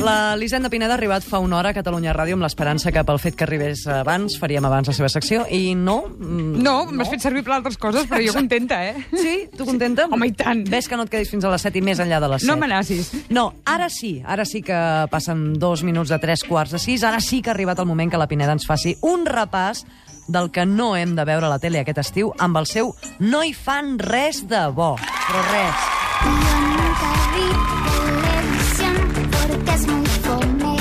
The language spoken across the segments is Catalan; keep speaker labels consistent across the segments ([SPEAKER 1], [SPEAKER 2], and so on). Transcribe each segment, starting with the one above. [SPEAKER 1] L'Hisenda Pineda ha arribat fa una hora a Catalunya Ràdio amb l'esperança que pel fet que arribés abans faríem abans la seva secció i no... mm,
[SPEAKER 2] No, m'has fet servir per altres coses, però jo contenta, eh?
[SPEAKER 1] Sí? Tu contenta?
[SPEAKER 2] Home, i tant.
[SPEAKER 1] Ves que no et quedis fins a les 7 i més enllà de les 7.
[SPEAKER 2] No m'anacis.
[SPEAKER 1] No, ara sí, ara sí que passen dos minuts de tres quarts de sis, ara sí que ha arribat el moment que la Pineda ens faci un repàs del que no hem de veure a la tele aquest estiu amb el seu No hi fan res de bo, però res.
[SPEAKER 3] Yo nunca vi televisión porque es muy fome.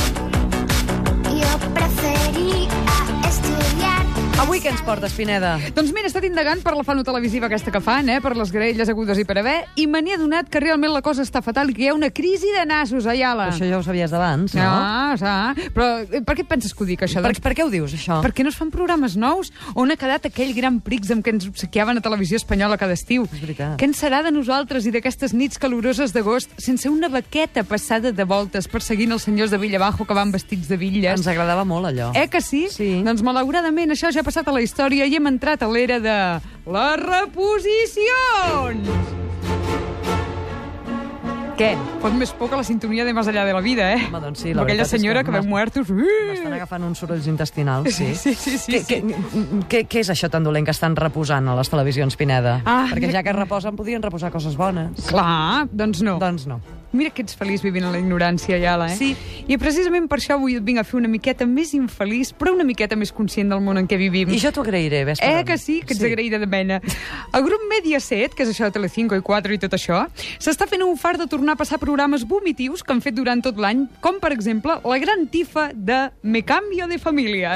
[SPEAKER 3] Yo prefería estudiar.
[SPEAKER 1] Avui què ens portes, Pineda?
[SPEAKER 2] Doncs mira, he estat indagant per la fanu televisiva aquesta que fan, eh? per les grelles agudes i per haver, i me n'he adonat que realment la cosa està fatal i que hi ha una crisi de nassos a Iala.
[SPEAKER 1] Això ja ho sabies d'abans, no?
[SPEAKER 2] Ah, ah, però eh, per què et penses que ho dic, això?
[SPEAKER 1] Per,
[SPEAKER 2] Doncs
[SPEAKER 1] per què ho dius, això?
[SPEAKER 2] per què no es fan programes nous? On ha quedat aquell gran prix amb què ens obsequiaven a televisió espanyola cada estiu?
[SPEAKER 1] És veritat.
[SPEAKER 2] Què en serà de nosaltres i d'aquestes nits caloroses d'agost sense una baqueta passada de voltes perseguint els senyors de Villabajo que van vestits de bitlles?
[SPEAKER 1] Ens agradava molt, allò.
[SPEAKER 2] Eh que sí?
[SPEAKER 1] Sí.
[SPEAKER 2] Doncs malauradament això ja ha passat a la història i hem entrat a l'era de les reposicions! Què? Fot més por que la sintonia de Més enllà de la vida, eh?
[SPEAKER 1] Home, doncs sí, la veritat
[SPEAKER 2] Amb Aquella
[SPEAKER 1] és que
[SPEAKER 2] senyora que,
[SPEAKER 1] m'has-
[SPEAKER 2] veu muertos... Uh!
[SPEAKER 1] Estan agafant uns sorolls intestinals, sí.
[SPEAKER 2] Sí, sí, sí,
[SPEAKER 1] Què,
[SPEAKER 2] sí.
[SPEAKER 1] què, què, què és això tan dolent que estan reposant a les televisions, Pineda?
[SPEAKER 2] Ah,
[SPEAKER 1] Perquè ja que reposen, podrien reposar coses bones.
[SPEAKER 2] Clar, doncs no.
[SPEAKER 1] Doncs no.
[SPEAKER 2] Mira que ets feliç vivint a la ignorància, Iala, eh?
[SPEAKER 1] Sí.
[SPEAKER 2] I precisament per això avui et vinc a fer una miqueta més infeliç, però una miqueta més conscient del món en què vivim.
[SPEAKER 1] I jo t'ho agrairé, ves per
[SPEAKER 2] Eh,
[SPEAKER 1] on.
[SPEAKER 2] que sí, que ets sí. agraïda de mena. El grup Mediaset, que és això de Telecinco i 4 i tot això, s'està fent un fart de tornar a passar programes vomitius que han fet durant tot l'any, com, per exemple, la gran tifa de Me cambio de familia.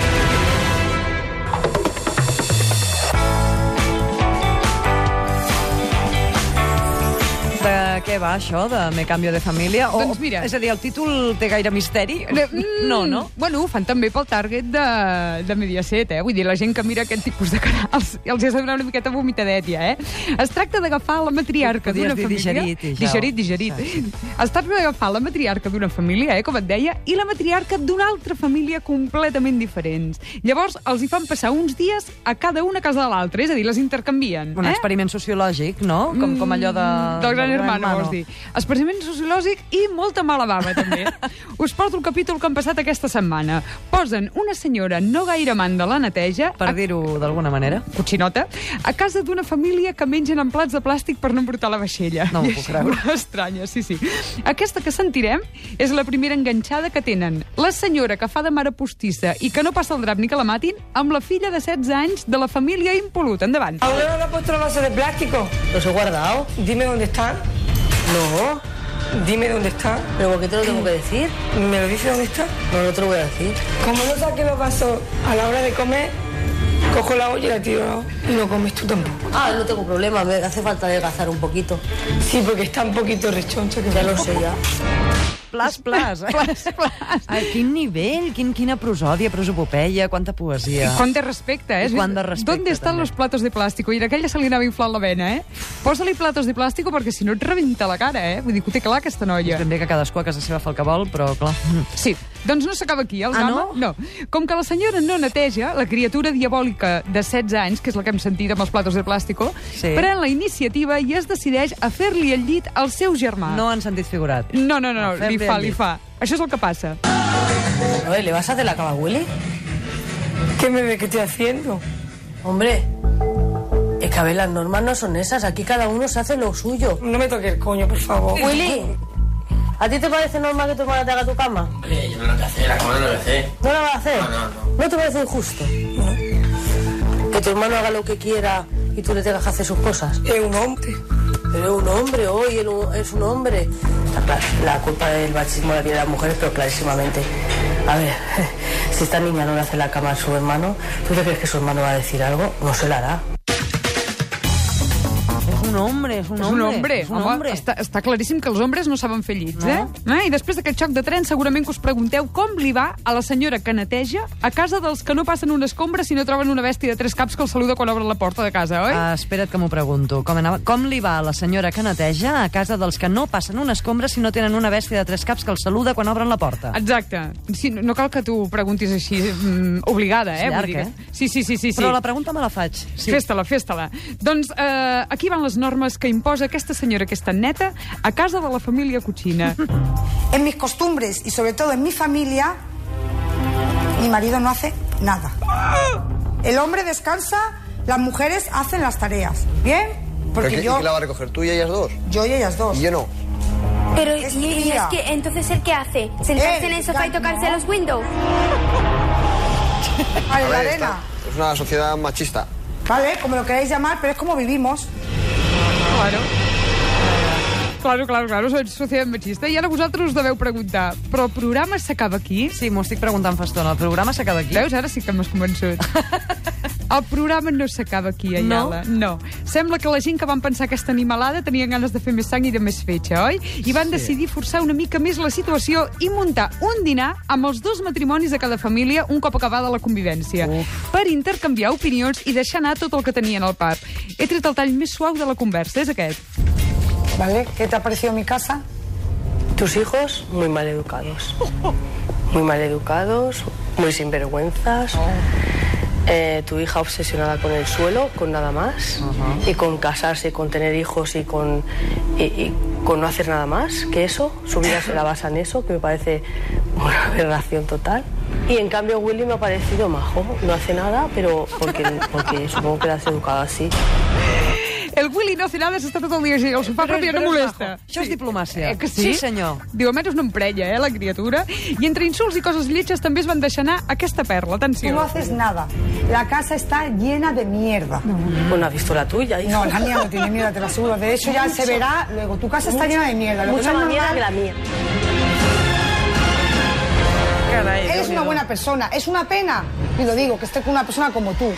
[SPEAKER 1] De què va això, de Me Cambio de Família? O,
[SPEAKER 2] Doncs mira.
[SPEAKER 1] És a dir, el títol té gaire misteri?
[SPEAKER 2] Mm,
[SPEAKER 1] No, no?
[SPEAKER 2] Bueno, ho fan també pel target de, de Mediaset, eh? Vull dir, la gent que mira aquest tipus de canals els has de donar una miqueta vomitadet, ja, eh? Es tracta d'agafar la matriarca
[SPEAKER 1] Podies
[SPEAKER 2] d'una
[SPEAKER 1] dir
[SPEAKER 2] família...
[SPEAKER 1] digerit i ja.
[SPEAKER 2] Digerit, digerit. Es tracta d'agafar la matriarca d'una família, eh, com et deia, i la matriarca d'una altra família completament diferents. Llavors, els hi fan passar uns dies a cada una a casa de l'altra, és a dir, les intercanvien.
[SPEAKER 1] Un
[SPEAKER 2] eh? Mm,
[SPEAKER 1] experiment sociològic, no? Com, com allò de...
[SPEAKER 2] Del gran hermano, vols dir. Experiment sociològic i molta mala bava, també. Us porto el capítol que han passat aquesta setmana. Posen una senyora no gaire amant de la neteja...
[SPEAKER 1] Per dir-ho d'alguna manera.
[SPEAKER 2] cotxinota, a casa d'una família que mengen en plats de plàstic per no embrutar la vaixella.
[SPEAKER 1] No m'ho
[SPEAKER 2] I
[SPEAKER 1] puc
[SPEAKER 2] això
[SPEAKER 1] creure.
[SPEAKER 2] Estranya, sí, sí. Aquesta que sentirem és la primera enganxada que tenen. La senyora que fa de mare postissa i que no passa el drap ni que la matin, amb la filla de 16 anys de la família Impolut. Endavant.
[SPEAKER 4] Abuelo no ha puesto la base de plástico. Oh,
[SPEAKER 5] Los he guardado.
[SPEAKER 4] Dime dónde están.
[SPEAKER 5] No.
[SPEAKER 4] Dime dónde están.
[SPEAKER 5] ¿Pero por qué te lo tengo que decir?
[SPEAKER 4] ¿Me lo dice dónde están?
[SPEAKER 5] No, no te lo voy a decir.
[SPEAKER 4] Como no saque los vasos a la hora de comer, cojo la olla y la tiro y no comes tú tampoco.
[SPEAKER 5] Ah, no tengo problema. Me hace falta adelgazar un poquito.
[SPEAKER 4] Sí, porque está un poquito rechoncho que
[SPEAKER 5] Ya lo sé, ya.
[SPEAKER 1] Plas, plas.
[SPEAKER 2] Plas, plas.
[SPEAKER 1] A quin nivell, quin, quina prosòdia, prosopopeia, quanta poesia.
[SPEAKER 2] Quant de respecte, eh?
[SPEAKER 1] Ah. I quant de respecte,
[SPEAKER 2] ¿Dónde están
[SPEAKER 1] també.
[SPEAKER 2] los platos de plástico? I en aquella se li anava inflant la vena, eh? Posa-li platos de plástico perquè si no et rebenta la cara, eh? Vull dir, que ho té clar, aquesta
[SPEAKER 1] És
[SPEAKER 2] noia.
[SPEAKER 1] ben bé que cadascú a casa seva fa el que vol, però clar...
[SPEAKER 2] Sí, doncs no s'acaba aquí, el
[SPEAKER 1] Ah,
[SPEAKER 2] drama. No? no. Com que la senyora no neteja, la criatura diabòlica de 16 anys, que és la que hem sentit amb els platos de plàstico,
[SPEAKER 1] Sí.
[SPEAKER 2] pren la iniciativa i es decideix a fer-li el llit al seu germà.
[SPEAKER 1] No han sentit figurat.
[SPEAKER 2] no, no, no,
[SPEAKER 1] A
[SPEAKER 2] no li
[SPEAKER 1] fer-li
[SPEAKER 2] fa,
[SPEAKER 1] el
[SPEAKER 2] li
[SPEAKER 1] llit.
[SPEAKER 2] fa. Això és el que passa.
[SPEAKER 5] Oye, ¿le vas a hacer la cama a Willy?
[SPEAKER 4] ¿Qué me ve que estoy haciendo?
[SPEAKER 5] Hombre, es que a ver, las normas no son esas. Aquí cada uno se hace lo suyo.
[SPEAKER 4] No me toques el coño, por favor.
[SPEAKER 5] Willy, ¿a ti te parece normal que tu hermana te haga tu cama?
[SPEAKER 6] Hombre, yo no lo que hacer, la cama no lo sé.
[SPEAKER 5] ¿No la vas a hacer?
[SPEAKER 6] No, no, no.
[SPEAKER 5] te parece injusto? Que tu hermano haga lo que quiera y tú le tengas que hacer sus cosas.
[SPEAKER 4] Es un hombre.
[SPEAKER 5] Pero es un hombre hoy, él un- es un hombre. Está claro, la culpa del machismo la tienen las mujeres, pero clarísimamente. A ver, si esta niña no le hace la cama a su hermano, ¿tú te crees que su hermano va a decir algo? No se la hará.
[SPEAKER 1] És un hombre, és un
[SPEAKER 2] És
[SPEAKER 1] hombre.
[SPEAKER 2] un hombre.
[SPEAKER 1] És un
[SPEAKER 2] Home,
[SPEAKER 1] hombre.
[SPEAKER 2] Està, està claríssim que els homes no saben fer llits, no. eh? eh? I després d'aquest xoc de tren segurament que us pregunteu com li va a la senyora que neteja a casa dels que no passen una escombra si no troben una bèstia de tres caps que el saluda quan obren la porta de casa, oi?
[SPEAKER 1] Ah, espera't que m'ho pregunto. Com, anava, com li va a la senyora que neteja a casa dels que no passen una escombra si no tenen una bèstia de tres caps que els saluda quan obren la porta?
[SPEAKER 2] Ah, Exacte. Sí, no no cal que tu ho preguntis així mm, obligada, eh?
[SPEAKER 1] És llarg,
[SPEAKER 2] Vull dir que-
[SPEAKER 1] eh?
[SPEAKER 2] Sí, sí, sí, sí. sí.
[SPEAKER 1] Però la pregunta me la faig.
[SPEAKER 2] Sí. Festa-la, festa-la. Doncs eh, aquí van les normes que imposa aquesta senyora que és tan neta a casa de la família Cucina.
[SPEAKER 7] en mis costumbres y sobre todo en mi familia, mi marido no hace nada. El hombre descansa, las mujeres hacen las tareas. ¿Bien?
[SPEAKER 8] ¿Y
[SPEAKER 7] Porque
[SPEAKER 8] qué-
[SPEAKER 7] yo,
[SPEAKER 8] y qué la va a recoger tú y ellas dos?
[SPEAKER 7] yo y ellas dos.
[SPEAKER 8] Y yo no.
[SPEAKER 9] Pero
[SPEAKER 7] Es
[SPEAKER 9] y, y
[SPEAKER 7] tía.
[SPEAKER 9] es que entonces él qué hace? Sentarse
[SPEAKER 7] Él,
[SPEAKER 9] en el sofá y
[SPEAKER 7] ya,
[SPEAKER 9] tocarse
[SPEAKER 7] no.
[SPEAKER 9] los windows.
[SPEAKER 7] Vale,
[SPEAKER 8] A
[SPEAKER 7] la
[SPEAKER 8] ver,
[SPEAKER 7] arena.
[SPEAKER 8] está- es una sociedad machista.
[SPEAKER 7] Vale, como lo queráis llamar, pero es como vivimos.
[SPEAKER 2] Claro. Claro, claro, claro, soy societat machista. I ara vosaltres us deveu preguntar, però el programa s'acaba aquí?
[SPEAKER 1] Sí, m'ho estic preguntant fa estona. El programa s'acaba aquí?
[SPEAKER 2] Veus, ara sí que m'has convençut. El programa no s'acaba aquí, Ayala. No. no. Sembla que la gent que van pensar aquesta animalada tenien ganes de fer més sang i de més fetge, oi? I van sí. decidir forçar una mica més la situació i muntar un dinar amb els dos matrimonis de cada família un cop acabada la convivència, Uf. per intercanviar opinions i deixar anar tot el que tenien al pub. He tret el tall més suau de la conversa, és aquest.
[SPEAKER 7] ¿Vale? ¿Qué te ha parecido mi casa?
[SPEAKER 5] Tus hijos muy mal educados. Muy mal educados, muy sinvergüenzas. Eh, tu hija obsesionada con el suelo, con nada más. Y con casarse, con tener hijos y con, y- y con no hacer nada más que eso. Su vida se la basa en eso, que me parece una aberración total. Y en cambio Willy me ha parecido majo. No hace nada, pero porque, porque supongo que la has educado así.
[SPEAKER 2] El Willy no hace nada, s'està tot el dia així, el sofà, però, ja no
[SPEAKER 1] és
[SPEAKER 2] molesta.
[SPEAKER 1] maco. Això és diplomàcia.
[SPEAKER 2] Eh, que sí?
[SPEAKER 1] sí, senyor.
[SPEAKER 2] Diu, almenys no em prella, eh, la criatura. I entre insults i coses lletges també es van deixar anar aquesta perla,
[SPEAKER 7] Tú no
[SPEAKER 2] atenció.
[SPEAKER 7] haces nada. La casa está llena de mierda.
[SPEAKER 5] Bueno, has visto la tuya, hija.
[SPEAKER 7] No, la mía no tiene mierda, te lo aseguro. De hecho, ya se verá luego. Tu casa está llena de mierda. Lo que
[SPEAKER 5] Mucha
[SPEAKER 7] no
[SPEAKER 5] más
[SPEAKER 7] es
[SPEAKER 5] mierda
[SPEAKER 7] normal-
[SPEAKER 5] que la mía.
[SPEAKER 7] Eres una buena persona. Es una pena, y lo digo, que esté con una persona como tú.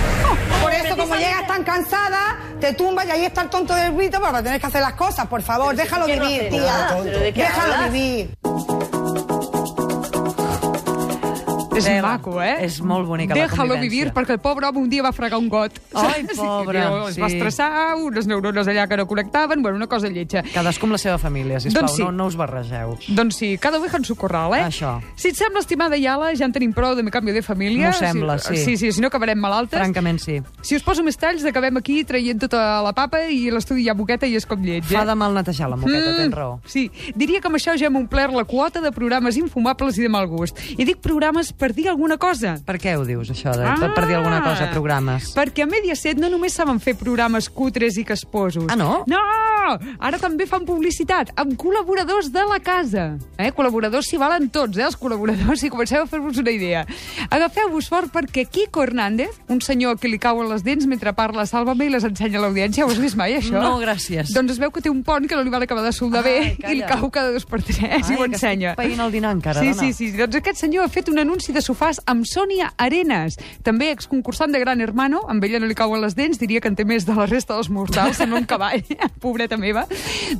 [SPEAKER 7] Por eso, como llegas tan cansada, te tumbas y ahí está el tonto del grito para tener que hacer las cosas. Por favor, déjalo
[SPEAKER 5] ¿por qué no
[SPEAKER 7] vivir,
[SPEAKER 5] hace nada?
[SPEAKER 7] tía.
[SPEAKER 5] ¿Pero de qué
[SPEAKER 7] Déjalo
[SPEAKER 5] hablas?
[SPEAKER 7] vivir.
[SPEAKER 2] És
[SPEAKER 1] Tela.
[SPEAKER 2] maco, eh?
[SPEAKER 1] És molt bonica la
[SPEAKER 2] Déjalo
[SPEAKER 1] convivència.
[SPEAKER 2] vivir, perquè el pobre home un dia va fregar un got.
[SPEAKER 1] Ai,
[SPEAKER 2] Saps?
[SPEAKER 1] pobre,
[SPEAKER 2] Diu, Es va
[SPEAKER 1] sí.
[SPEAKER 2] estressar, unes neurones allà que no connectaven, bueno, una cosa lletja.
[SPEAKER 1] Cadascú amb la seva família, sisplau.
[SPEAKER 2] Doncs sí.
[SPEAKER 1] no, no us barregeu.
[SPEAKER 2] Doncs sí, cada oveja en su corral, eh?
[SPEAKER 1] Això.
[SPEAKER 2] Si et sembla, estimada Iala, ja en tenim prou de mi canvi de família.
[SPEAKER 1] M'ho sembla, sí.
[SPEAKER 2] Sí, sí, si no acabarem malaltes.
[SPEAKER 1] Francament, sí.
[SPEAKER 2] Si us poso més talls, acabem aquí traient tota la papa i l'estudi ja boqueta i és com lleig, eh?
[SPEAKER 1] Fa de mal netejar la moqueta, mm. tens raó.
[SPEAKER 2] Sí, diria que amb això ja hem omplert la quota de programes infumables i de mal gust. I dic programes per dir alguna cosa.
[SPEAKER 1] Per què ho dius, això, de, ah. per dir alguna cosa, programes?
[SPEAKER 2] Perquè a Mediaset no només saben fer programes cutres i casposos.
[SPEAKER 1] Ah, no?
[SPEAKER 2] No! Ara també fan publicitat amb col·laboradors de la casa. Eh? Col·laboradors s'hi valen tots, eh? els col·laboradors, si comenceu a fer-vos una idea. Agafeu-vos fort perquè Kiko Hernández, un senyor que li cauen les dents mentre parla a Sálvame i les ensenya a l'audiència, ho has vist mai, això?
[SPEAKER 1] No, gràcies.
[SPEAKER 2] Doncs es veu que té un pont que no li van acabar de soldar
[SPEAKER 1] Ai,
[SPEAKER 2] bé i li
[SPEAKER 1] calla.
[SPEAKER 2] cau cada dos per tres i
[SPEAKER 1] Ai,
[SPEAKER 2] ho
[SPEAKER 1] que
[SPEAKER 2] ensenya.
[SPEAKER 1] estic païnt el dinar encara,
[SPEAKER 2] sí,
[SPEAKER 1] dona.
[SPEAKER 2] Sí, sí, sí. Doncs aquest senyor ha fet un anunci de sofàs amb Sònia Arenas, també exconcursant de Gran Hermano. Amb ella no li cauen les dents, diria que en té més de la resta dels mortals, sembla un cavall, pobreta meva.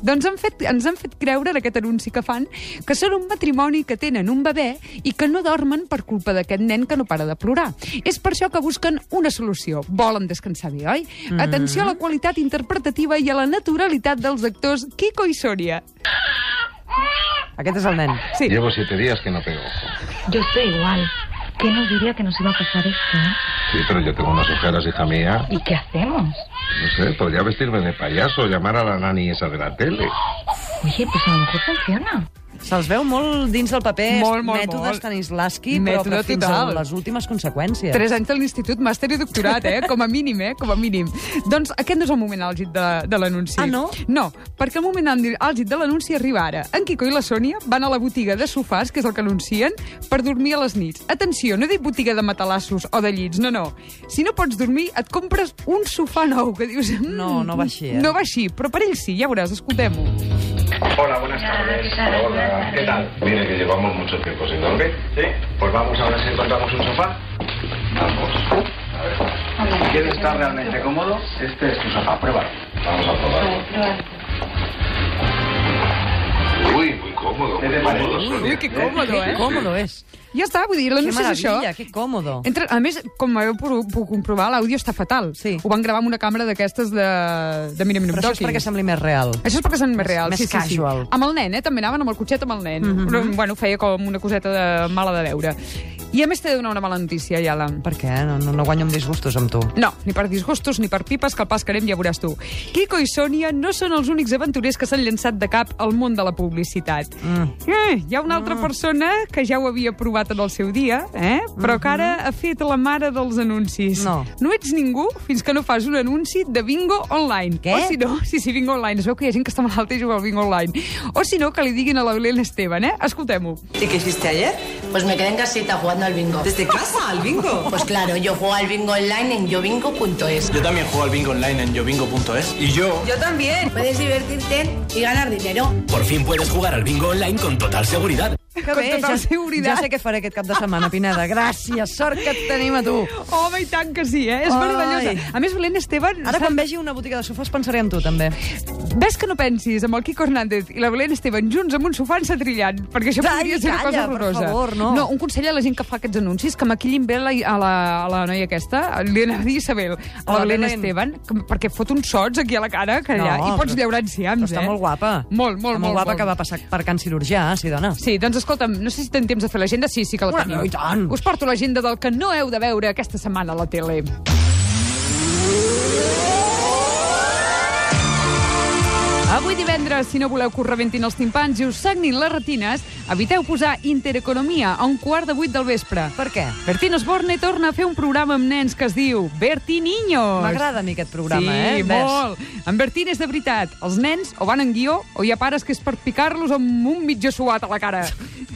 [SPEAKER 2] Doncs han fet, ens han fet creure, en aquest anunci que fan, que són un matrimoni que tenen un bebè i que no dormen per culpa d'aquest nen que no para de plorar. És per això que busquen una solució. Volen descansar bé, oi?
[SPEAKER 1] Mm.
[SPEAKER 2] Atenció a la qualitat interpretativa i a la naturalitat dels actors Kiko i Sònia.
[SPEAKER 1] Aquest és el nen.
[SPEAKER 2] Sí.
[SPEAKER 10] Llevo siete días que no pego.
[SPEAKER 11] Yo estoy igual. ¿Qué nos diría que nos iba a pasar esto? eh?
[SPEAKER 10] Sí, pero yo tengo unas ojeras, hija mía.
[SPEAKER 11] ¿Y qué hacemos?
[SPEAKER 10] No sé, podría vestirme de payaso, llamar a la nani esa de la tele.
[SPEAKER 11] Oye, pues a lo mejor funciona.
[SPEAKER 1] Se'ls veu molt dins del paper,
[SPEAKER 2] Molt, molt,
[SPEAKER 1] mètode
[SPEAKER 2] molt.
[SPEAKER 1] Stanislavski,
[SPEAKER 2] Mètode
[SPEAKER 1] però que fins
[SPEAKER 2] total.
[SPEAKER 1] a les últimes conseqüències.
[SPEAKER 2] Tres anys de l'institut, màster i doctorat, eh? Com a mínim, eh? Com a mínim. Doncs aquest no és el moment àlgid de, de l'anunci.
[SPEAKER 1] Ah, no?
[SPEAKER 2] No, perquè el moment àlgid de l'anunci arriba ara. En Quico i la Sònia van a la botiga de sofàs, que és el que anuncien, per dormir a les nits. Atenció, no he dit botiga de matalassos o de llits, no, no. Si no pots dormir, et compres un sofà nou, que dius... Mm,
[SPEAKER 1] No, no va així, eh?
[SPEAKER 2] No va així, però per ells sí, ja veuràs, escoltem-ho.
[SPEAKER 10] Hola, buenas tardes. Hola, ¿qué tal? Mira que llevamos mucho tiempo sin dormir. Sí. Pues vamos a ver si encontramos un sofá. Vamos. A ver. ¿Quieres estar realmente cómodo? Este es tu sofá, pruébalo. Vamos a probarlo. Uy, muy cómodo. Muy cómodo, Sonia.
[SPEAKER 2] Ui, que còmodo,
[SPEAKER 1] Que
[SPEAKER 2] eh?
[SPEAKER 1] còmodo és.
[SPEAKER 2] Ja està, vull dir,
[SPEAKER 1] Que
[SPEAKER 2] l'anunci és això.
[SPEAKER 1] meravella, que còmodo.
[SPEAKER 2] Entre, a més, com heu pogut puc comprovar, l'àudio està fatal.
[SPEAKER 1] Sí.
[SPEAKER 2] Ho van gravar amb una càmera d'aquestes de, de Mira Mira
[SPEAKER 1] Però això és perquè sembli més real.
[SPEAKER 2] això és perquè són més reals.
[SPEAKER 1] més
[SPEAKER 2] sí, sí,
[SPEAKER 1] casual. Mhm.
[SPEAKER 2] Sí. Amb el nen, eh? També anaven amb el cotxet amb el nen. Mm -hmm. Però, bueno, feia com una coseta de mala de veure. I a més t'he de donar una mala notícia, Iala.
[SPEAKER 1] Per què? No, no, no guanyo amb disgustos amb tu.
[SPEAKER 2] No, ni per disgustos ni per pipes, que el pas que anem ja veuràs tu. Kiko i Sònia no són els únics aventurers que s'han llançat de cap al món de la publicitat. Mm. Eh, hi ha
[SPEAKER 1] Mm.
[SPEAKER 2] una altra persona que ja ho havia provat en el seu dia, eh? però que ara ha fet la mare dels anuncis.
[SPEAKER 1] Mm-hmm. No.
[SPEAKER 2] No ets ningú fins que no fas un anunci de bingo online.
[SPEAKER 1] Què?
[SPEAKER 2] O si no, sí, sí, bingo online. Es veu que hi ha gent que està malalta i juga al bingo online. O si no, que li diguin a l'Eulén Esteban, eh? Escoltem-ho.
[SPEAKER 12] ¿Y qué hiciste ayer?
[SPEAKER 5] Pues me quedé en casita jugando al bingo.
[SPEAKER 12] ¿Desde casa al bingo?
[SPEAKER 5] Pues claro, yo juego al bingo online en yobingo.es.
[SPEAKER 6] Yo también juego al bingo online en yobingo.es. Y yo...
[SPEAKER 12] Yo también.
[SPEAKER 5] Puedes divertirte y ganar dinero.
[SPEAKER 13] Por fin puedes jugar al bingo online con total seguridad.
[SPEAKER 1] Que
[SPEAKER 2] Con tota
[SPEAKER 1] ja,
[SPEAKER 2] seguretat.
[SPEAKER 1] ja sé què faré aquest cap de setmana, Pineda. Gràcies, sort que et tenim a tu.
[SPEAKER 2] Home, i tant que sí, eh? És
[SPEAKER 1] Ai.
[SPEAKER 2] meravellosa. A més, Belén Esteban...
[SPEAKER 1] Ara quan vegi una botiga de sofàs pensaré en tu, també.
[SPEAKER 2] Ves que no pensis amb el Quico Hernández i la Belén Esteban junts amb un sofà entretrillant, perquè això
[SPEAKER 1] Ai,
[SPEAKER 2] podria ser una cosa
[SPEAKER 1] calla, per
[SPEAKER 2] horrorosa.
[SPEAKER 1] favor, no.
[SPEAKER 2] no, un consell a la gent que fa aquests anuncis, que maquillin bé la, a, la, a la noia aquesta, a l'Ena Isabel, a la
[SPEAKER 1] Hola,
[SPEAKER 2] Belén
[SPEAKER 1] Belén.
[SPEAKER 2] Esteban, que, perquè fot uns sots aquí a la cara, que allà, i pots
[SPEAKER 1] però-
[SPEAKER 2] llaurar
[SPEAKER 1] però
[SPEAKER 2] enciams,
[SPEAKER 1] Està
[SPEAKER 2] eh?
[SPEAKER 1] molt guapa.
[SPEAKER 2] Molt, molt,
[SPEAKER 1] està
[SPEAKER 2] molt,
[SPEAKER 1] molt guapa
[SPEAKER 2] molt.
[SPEAKER 1] que va passar per can cirurgià, sí, dona.
[SPEAKER 2] Sí, doncs escolta'm, no sé si tenim temps de fer l'agenda. Sí, sí que la
[SPEAKER 1] Home,
[SPEAKER 2] tenim.
[SPEAKER 1] no, i tant.
[SPEAKER 2] Us porto l'agenda del que no heu de veure aquesta setmana a la tele. Avui divendres, si no voleu que us rebentin els timpans i us sagnin les retines, eviteu posar Intereconomia a un quart de vuit del vespre.
[SPEAKER 1] Per què?
[SPEAKER 2] Bertín Osborne torna a fer un programa amb nens que es diu Bertí Niños.
[SPEAKER 1] M'agrada a mi aquest programa,
[SPEAKER 2] sí,
[SPEAKER 1] eh?
[SPEAKER 2] Sí, molt. En Bertín és de veritat. Els nens o van en guió o hi ha pares que és per picar-los amb un mitjó suat a la cara.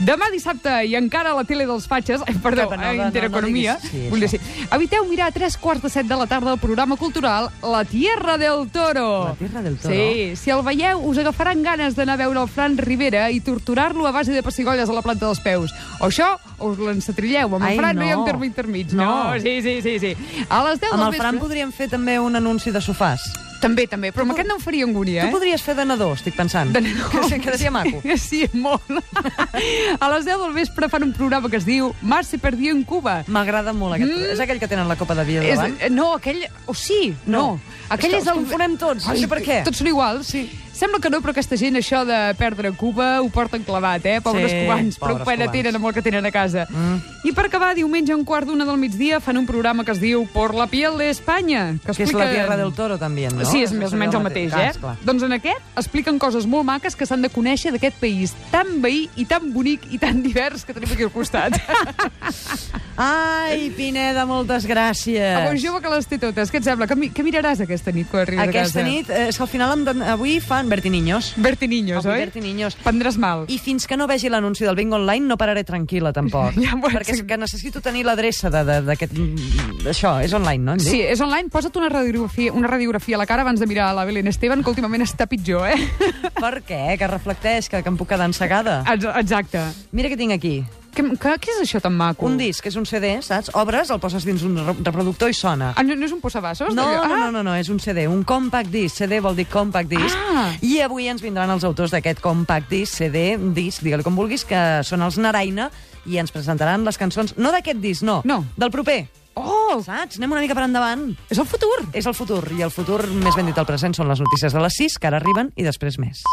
[SPEAKER 2] Demà dissabte i encara a la tele dels fatxes, eh, perdó,
[SPEAKER 1] Cap, no,
[SPEAKER 2] a
[SPEAKER 1] no, no,
[SPEAKER 2] Intereconomia,
[SPEAKER 1] no diguis- sí,
[SPEAKER 2] volia dir, eviteu mirar a tres quarts de set de la tarda el programa cultural La Tierra del Toro.
[SPEAKER 1] La Tierra del Toro.
[SPEAKER 2] Sí, si el veieu, us agafaran ganes d'anar a veure el Fran Rivera i torturar-lo a base de pessigolles a la planta dels peus. O això, o us l'encetrilleu. Amb
[SPEAKER 1] Ai,
[SPEAKER 2] el Fran no.
[SPEAKER 1] no.
[SPEAKER 2] hi ha un terme intermig.
[SPEAKER 1] No.
[SPEAKER 2] no, sí, sí, sí, sí. A les 10
[SPEAKER 1] Amb
[SPEAKER 2] del
[SPEAKER 1] el Fran
[SPEAKER 2] vespre...
[SPEAKER 1] podríem fer també un anunci de sofàs.
[SPEAKER 2] També, també, però amb aquest no em faria angúnia,
[SPEAKER 1] Tu
[SPEAKER 2] eh?
[SPEAKER 1] podries fer de nadó, estic pensant.
[SPEAKER 2] De nadó.
[SPEAKER 1] Que se quedaria maco.
[SPEAKER 2] Sí, molt. A les 10 del vespre fan un programa que es diu Mar se perdió en Cuba.
[SPEAKER 1] M'agrada molt aquest.
[SPEAKER 2] Mm.
[SPEAKER 1] Mm. És aquell que tenen la copa de vida
[SPEAKER 2] És,
[SPEAKER 1] davant?
[SPEAKER 2] no, aquell... O oh, sí, no.
[SPEAKER 1] No.
[SPEAKER 2] Aquell
[SPEAKER 1] És
[SPEAKER 2] és,
[SPEAKER 1] que els confonem tots, no sé per què.
[SPEAKER 2] Tots són iguals. Sí. Sembla que no, però aquesta gent, això de perdre Cuba, ho porten clavat, eh? Pobres
[SPEAKER 1] Sí,
[SPEAKER 2] cubans,
[SPEAKER 1] pobres
[SPEAKER 2] prou pena
[SPEAKER 1] cubans.
[SPEAKER 2] tenen amb el que tenen a casa. Mm. I per acabar, diumenge a un quart d'una del migdia fan un programa que es diu Por la piel de España.
[SPEAKER 1] Que
[SPEAKER 2] Que,
[SPEAKER 1] és
[SPEAKER 2] explica...
[SPEAKER 1] la Tierra del Toro, també, no?
[SPEAKER 2] Sí, és més o
[SPEAKER 1] seria
[SPEAKER 2] menys el
[SPEAKER 1] mate-
[SPEAKER 2] mateix,
[SPEAKER 1] Ah,
[SPEAKER 2] eh?
[SPEAKER 1] esclar.
[SPEAKER 2] Doncs en aquest expliquen coses molt maques que s'han de conèixer d'aquest país tan veí i tan bonic i tan divers que tenim aquí al costat.
[SPEAKER 1] Ai, Pineda, moltes gràcies.
[SPEAKER 2] Avui jove que les té totes. Què et sembla? Què, mi- què miraràs aquesta nit quan arribis
[SPEAKER 1] Aquesta
[SPEAKER 2] a casa?
[SPEAKER 1] nit, eh, és que al final em don- avui fan Bertiniños.
[SPEAKER 2] Berti Niños,
[SPEAKER 1] Avui
[SPEAKER 2] oi?
[SPEAKER 1] Berti Niños.
[SPEAKER 2] Prendràs mal.
[SPEAKER 1] I fins que no vegi l'anunci del bingo online no pararé tranquil·la, tampoc.
[SPEAKER 2] Ja ho
[SPEAKER 1] perquè és
[SPEAKER 2] sé.
[SPEAKER 1] que necessito tenir l'adreça de- de- d'aquest... Això, és online, no? Em dic?
[SPEAKER 2] Sí, és online. Posa't una radiografia, una radiografia a la cara abans de mirar la Belén Esteban, que últimament està pitjor, eh?
[SPEAKER 1] Per què? Que reflecteix, que, que em puc quedar ensegada.
[SPEAKER 2] Ex- Exacte.
[SPEAKER 1] Mira què tinc aquí.
[SPEAKER 2] Què, què, què és això tan maco?
[SPEAKER 1] Un disc, és un CD, saps? Obres, el poses dins un re- reproductor i sona.
[SPEAKER 2] Ah, no, no és un posavasos?
[SPEAKER 1] No,
[SPEAKER 2] d'allò?
[SPEAKER 1] no,
[SPEAKER 2] Ah,
[SPEAKER 1] no, no, no, és un CD, un compact disc. CD vol dir compact disc.
[SPEAKER 2] Ah.
[SPEAKER 1] I avui ens vindran els autors d'aquest compact disc, CD, disc, digue-li com vulguis, que són els Naraina, i ens presentaran les cançons, no d'aquest disc, no,
[SPEAKER 2] No.
[SPEAKER 1] del proper.
[SPEAKER 2] Oh,
[SPEAKER 1] Saps? Anem una mica per endavant.
[SPEAKER 2] és el futur.
[SPEAKER 1] És el futur, i el futur, més ben dit el present, són les notícies de les 6, que ara arriben, i després més.